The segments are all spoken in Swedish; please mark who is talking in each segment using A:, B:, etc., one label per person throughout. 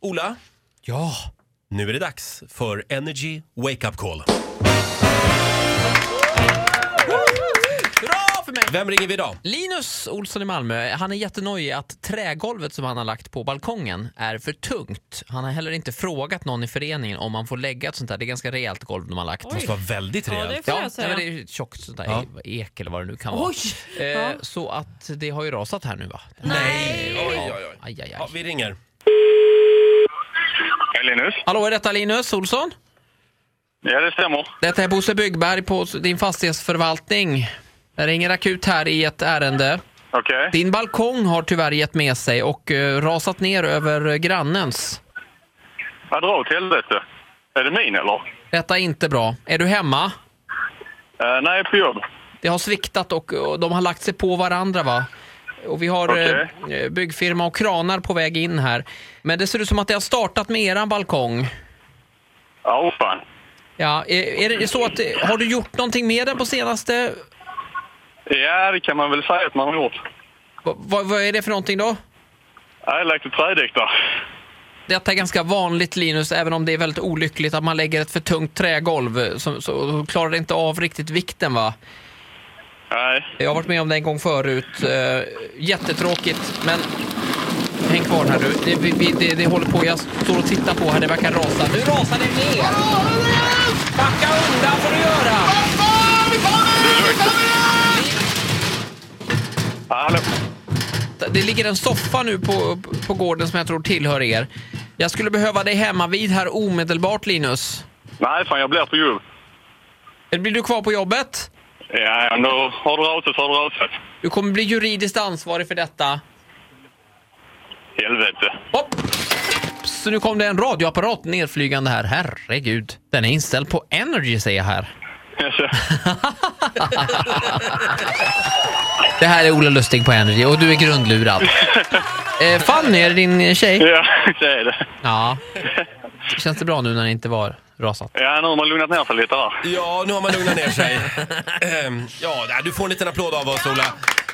A: Ola,
B: Ja.
A: nu är det dags för Energy Wake Up Call.
C: Bra för mig!
A: Vem ringer vi idag?
C: Linus Olsson i Malmö, han är jättenojig att trägolvet som han har lagt på balkongen är för tungt. Han har heller inte frågat någon i föreningen om man får lägga ett sånt där, det är ganska rejält golv de har lagt.
A: Det måste vara väldigt
D: Ja, det
A: rejält.
D: får jag
C: nej, men det
D: säga.
C: är tjockt sånt där e-
A: Ja.
C: ek eller vad det nu kan vara.
D: Oj!
C: Eh,
D: Ja.
C: Så att det har ju rasat här nu va?
D: Nej!
A: Oj, oj, oj.
C: Aj, aj,
A: Ja,
C: aj.
A: vi ringer.
E: Hej Linus.
C: Hallå, är detta Linus Olsson?
E: Ja, det stämmer.
C: Detta är Bosse Byggberg på din fastighetsförvaltning. Jag ringer akut här i ett ärende.
E: Okej.
C: Din balkong har tyvärr gett med sig och eh, rasat ner över eh, grannens.
E: Ja, dra åt helvete. Är det min eller?
C: Detta är inte bra. Är du hemma?
E: Eh, nej, på jobb.
C: Det har sviktat och, och de har lagt sig på varandra va? Och vi har
E: Okej.
C: eh, byggfirma och kranar på väg in här. Men det ser ut som att det har startat med eran balkong.
E: Ja, åh fan.
C: Ja, är, är det så att, eh, har du gjort någonting med den på senaste?
E: Ja, det kan man väl säga att man har gjort.
C: Va- va- vad är det för någonting då?
E: Ja, Jag har lagt ett trädäck där.
C: Detta är ganska vanligt Linus, även om det är väldigt olyckligt att man lägger ett för tungt trägolv eh, som så, och klarar inte av riktigt vikten va?
E: Nej.
C: Jag har varit med om det en gång förut. Eh, jättetråkigt, men häng kvar här du. Det, vi, vi, det, det håller på. Jag står och tittar på här. Det verkar rasa. Nu rasar det ner! Backa undan får du göra!
E: Ja, hallå.
C: Det ligger en soffa nu på, på gården som jag tror tillhör er. Jag skulle behöva dig hemma vid här omedelbart Linus.
E: Nej, fan jag blir på jobb.
C: Blir du kvar på jobbet?
E: Ja, ja, nu har du rasat så har du rasat.
C: Du kommer bli juridiskt ansvarig för detta.
E: Helvete.
C: Hopp! Så nu kom det en radioapparat nedflygande här. Herregud. Den är inställd på Energy säger jag här.
E: Jaså?
C: Det här är Ola Lustig på Energy och du är grundlurad. Eh, Fanny, är det din tjej?
E: ja, det är det.
C: Ja. Känns det bra nu när det inte var rasat?
E: Ja, nu har man lugnat ner sig lite där.
A: Ja, nu har man lugnat ner sig. Ehm, ja, nej, du får en liten applåd av oss, Ola.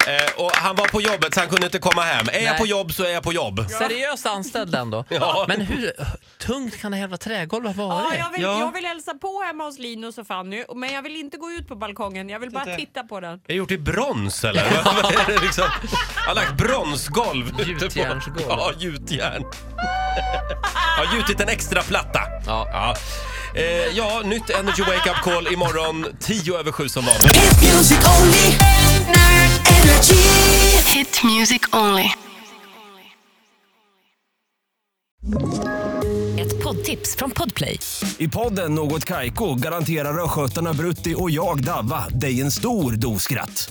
A: Eh, och han var på jobbet så han kunde inte komma hem. Är jag
C: Nej.
A: på jobb så är jag på jobb.
C: Seriöst anställd ändå.
A: Ja.
C: Men hur tungt kan det jävla trägolvet ha
D: Ja,
C: varit?
D: jag, vill,
A: Ja.
D: jag vill hälsa på hemma hos Linus och Fanny, men jag vill inte gå ut på balkongen. Jag vill bara titta på den.
A: Är det gjort i brons eller? Vad är det liksom? Jag har lagt bronsgolv. ute på-
C: Gjutjärnsgolv.
A: Ja, gjutjärn. Jag har gjutit en extra platta.
C: Ja.
A: Ja. Eh, ja, nytt Energy Wake Up Call imorgon 10 över 7 som vanligt.
F: Hit music only. Nerd energy.
G: Hit music only.
H: Ett poddtips från Podplay.
I: I podden Något Kaiko garanterar östgötarna Brutti och jag, Davva, dig en stor dos skratt.